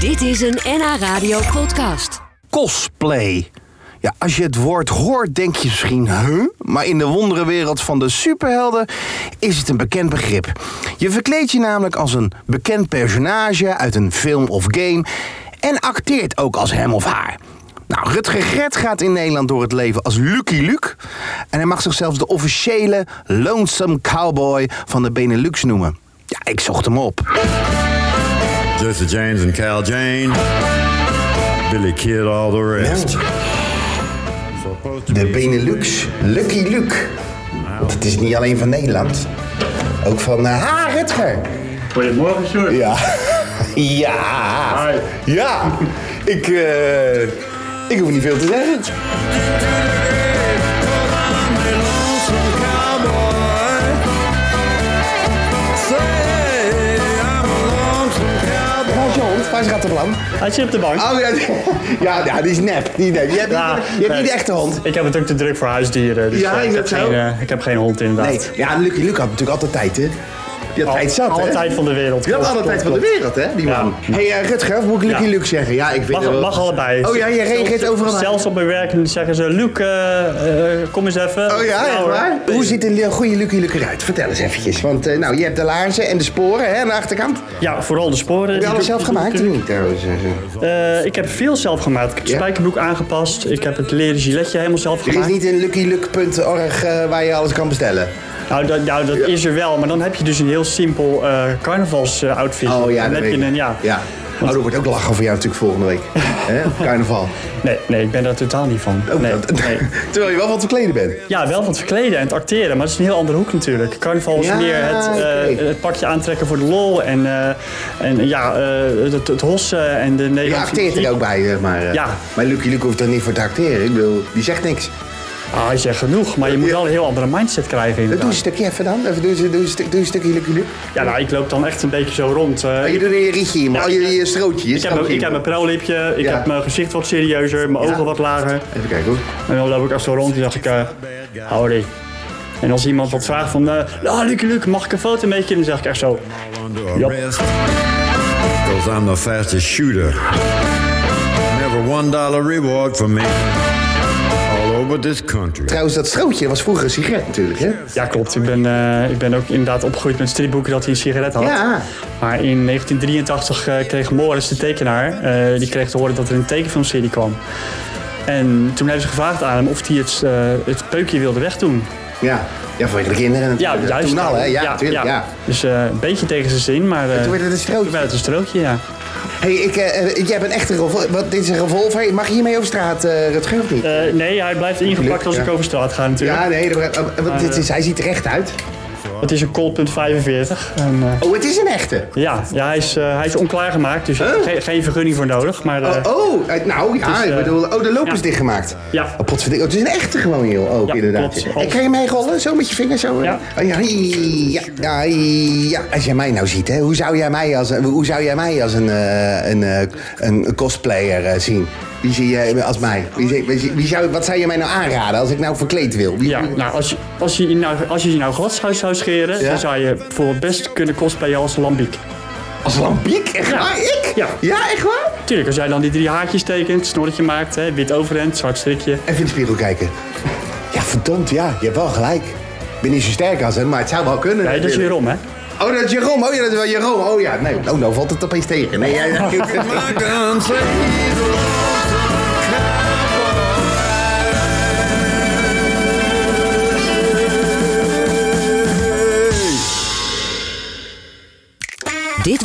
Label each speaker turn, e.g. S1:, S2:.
S1: Dit is een NH Radio podcast.
S2: cosplay. Ja, als je het woord hoort, denk je misschien huh? Maar in de wonderenwereld van de superhelden is het een bekend begrip. Je verkleedt je namelijk als een bekend personage uit een film of game en acteert ook als hem of haar. Nou, Rutger Gret gaat in Nederland door het leven als Lucky Luke. En hij mag zichzelf de officiële Lonesome Cowboy van de Benelux noemen. Ja, ik zocht hem op.
S3: Jesse James and Cal Jane. Billy Kid, all the rest. Supposed to
S2: De
S3: be-
S2: Benelux Lucky Luke. Want het is niet alleen van Nederland. Ook van eh, Ha Rutger.
S4: Goedemorgen, Sjoerd.
S2: Ja. Ja.
S4: Hi.
S2: Ja. Ik, eh, ik hoef niet veel te zeggen. Waar is je hond? Waar is Rattenplan?
S5: Hij zit op de bank.
S2: Oh, ja, die- ja, ja, die is nep. Die is nep. Je hebt, niet-
S5: Ja,
S2: je hebt
S5: nee.
S2: niet de echte hond.
S5: Ik heb het ook te druk voor huisdieren. Dus
S2: Ja,
S5: eh,
S2: is
S5: ik,
S2: dat
S5: heb
S2: zo?
S5: geen, eh, ik heb geen hond inderdaad.
S2: Nee, ja, Lucky Luke had natuurlijk altijd tijd, hè? Die had
S5: Al-
S2: tijd zat,
S5: alle
S2: hè?
S5: tijd van de wereld.
S2: Die had
S5: Klopt,
S2: alle tijd van de
S5: klopt,
S2: wereld, hè, die
S5: Ja.
S2: man. hey, eh, Rutger, of moet ik Lucky
S5: Ja.
S2: Luke zeggen? Ja, ik weet
S5: Mag,
S2: het wel.
S5: mag allebei.
S2: Oh ja, je reageert
S5: Zelfs-
S2: overal aan.
S5: Zelfs op mijn werk zeggen ze, Luc, eh, eh, kom eens even.
S2: Oh ja,
S5: Nou,
S2: echt
S5: hoor.
S2: waar? Hoe ziet een le- goede Lucky Luke eruit? Vertel eens eventjes. Want eh, nou, je hebt de laarzen en de sporen hè, aan de achterkant. Heb
S5: Ja, vooral de sporen.
S2: je
S5: Die
S2: alles
S5: doe-
S2: zelf gemaakt? Doe niet trouwens. eh, zo.
S5: Eh, ik heb veel zelf gemaakt. Ik heb het
S2: Ja?
S5: spijkerbroek aangepast. Ik heb het leren giletje helemaal zelf
S2: Er is
S5: gemaakt.
S2: niet een luckyluke.org eh, waar je alles kan bestellen.
S5: Nou, dat, nou, dat is er wel. Maar dan heb je dus een heel simpel eh carnavals eh, outfit.
S2: Oh ja, dat
S5: dan heb
S2: weet
S5: je
S2: ik.
S5: een, ja.
S2: ja. Oh, er wordt ook lachen voor jou natuurlijk volgende week. hè? Carnaval.
S5: Nee, nee, ik ben daar totaal niet van.
S2: Ook
S5: nee,
S2: Oh, dat.
S5: nee.
S2: Terwijl je wel wat te kleden bent.
S5: Ja, wel van het verkleden en het acteren, maar dat is een heel andere hoek natuurlijk. Carnaval is
S2: Ja,
S5: meer het, eh,
S2: oké.
S5: het pakje aantrekken voor de lol en, eh, en ja, eh, het, het hossen en de
S2: Je
S5: Nederlandse
S2: acteert er
S5: muziek.
S2: ook bij, zeg maar. eh.
S5: Ja.
S2: Maar Lucky Luke hoeft er niet voor te acteren. Ik bedoel, die zegt niks. Eh,
S5: Ah, hij zegt genoeg, maar je moet wel een heel andere mindset krijgen
S2: Doe een
S5: inderdaad.
S2: stukje even dan. Even doe, eens- doe, eens een stuk- doe een stukje Lucky Luke.
S5: Ja, nou, ik loop dan echt een beetje zo rond. eh,
S2: Oh, je doet er je rietje in, maar
S5: Ja,
S2: oh, je,
S5: ik-
S2: je strootje. Je
S5: ik, heb,
S2: strootje
S5: ik
S2: in.
S5: heb mijn prauwlipje, ik
S2: Ja.
S5: heb mijn gezicht wat serieuzer, mijn
S2: Ja.
S5: ogen wat lager.
S2: Even kijken hoor.
S5: En dan loop ik als zo rond en dacht ik, eh howdy. En als iemand wat vraagt van, eh nou, Luc, Luc, mag ik een foto met je? Dan zeg ik echt zo,
S3: Under arrest. Cause I'm the fastest shooter. Never one dollar reward for me. All over this country.
S2: Trouwens, dat strootje was vroeger een sigaret natuurlijk, hè?
S5: Ja, klopt. Ik ben, eh, ik ben ook inderdaad opgegroeid met stripboeken dat hij een sigaret had.
S2: Ja.
S5: Maar in 1983 eh, kreeg Morris, de tekenaar, eh, die kreeg te horen dat er een tekenfilmserie kwam. En toen hebben ze gevraagd aan hem of hij het, eh, het peukje wilde wegdoen.
S2: Ja. Ja, vanwege de kinderen
S5: Ja,
S2: natuurlijk.
S5: juist.
S2: Toen al, hè? Ja,
S5: Ja,
S2: natuurlijk, ja.
S5: ja. Dus eh, een beetje tegen zijn zin, maar... eh,
S2: Toen werd het een strootje.
S5: Toen werd het een strootje, ja.
S2: hey, ik, eh, eh, jij bent echt een revolver. Wat, dit is een revolver. Mag je hiermee over straat, eh Rutger, of niet?
S5: Eh, nee, hij blijft ingepakt als
S2: ja.
S5: ik over straat ga natuurlijk.
S2: ja, nee. dat- eh, want dit is, hij ziet er echt uit.
S5: Het is een Colt.45. 45. En, eh,
S2: Oh, het is een echte.
S5: ja, ja hij, is, eh, hij is onklaargemaakt, dus geen, geen vergunning voor nodig. Maar, eh,
S2: Oh, oh, eh, nou ja,
S5: is,
S2: ik
S5: eh,
S2: bedoel, oh, de loop
S5: ja.
S2: is dichtgemaakt.
S5: Ja.
S2: Oh, potverdikkie. Oh, het is een echte gewoon, joh, ook
S5: Ja,
S2: inderdaad.
S5: klopt.
S2: En kan je mij rollen, zo met je vinger, zo? eh?
S5: Ja.
S2: Oh, ja, ja, ja, ja. Als jij mij nou ziet, hè, hoe zou jij mij als, hoe zou jij mij als een, eh, een, eh, een cosplayer eh, zien? Wie zie je als mij? Wie, zie- wie zie- wie zou, wat zou je mij nou aanraden als ik nou verkleed wil? Wie-
S5: Ja, nou, als je, als je, je nou, als je je nou glashuis zou scheren,
S2: Ja.
S5: dan zou je bijvoorbeeld best kunnen cosplayen als Lambiek.
S2: Als lampiek? Echt
S5: Ja.
S2: waar? Ik?
S5: Ja.
S2: echt waar?
S5: Tuurlijk, als jij dan die drie haakjes tekent, snorretje maakt, hè, wit overhemd, zwart strikje.
S2: Even in de spiegel kijken. Ja, verdomd, ja. Je hebt wel gelijk. Ik ben niet zo sterk als hem, maar het zou wel kunnen.
S5: Nee, dat is
S2: natuurlijk.
S5: weer om, hè?
S2: Oh, dat is Jeroen. Oh ja, dat is wel Jeroen. Oh ja, nee. Oh, nou valt het opeens tegen. Nee, ja, ja.
S3: My gun says
S1: Dit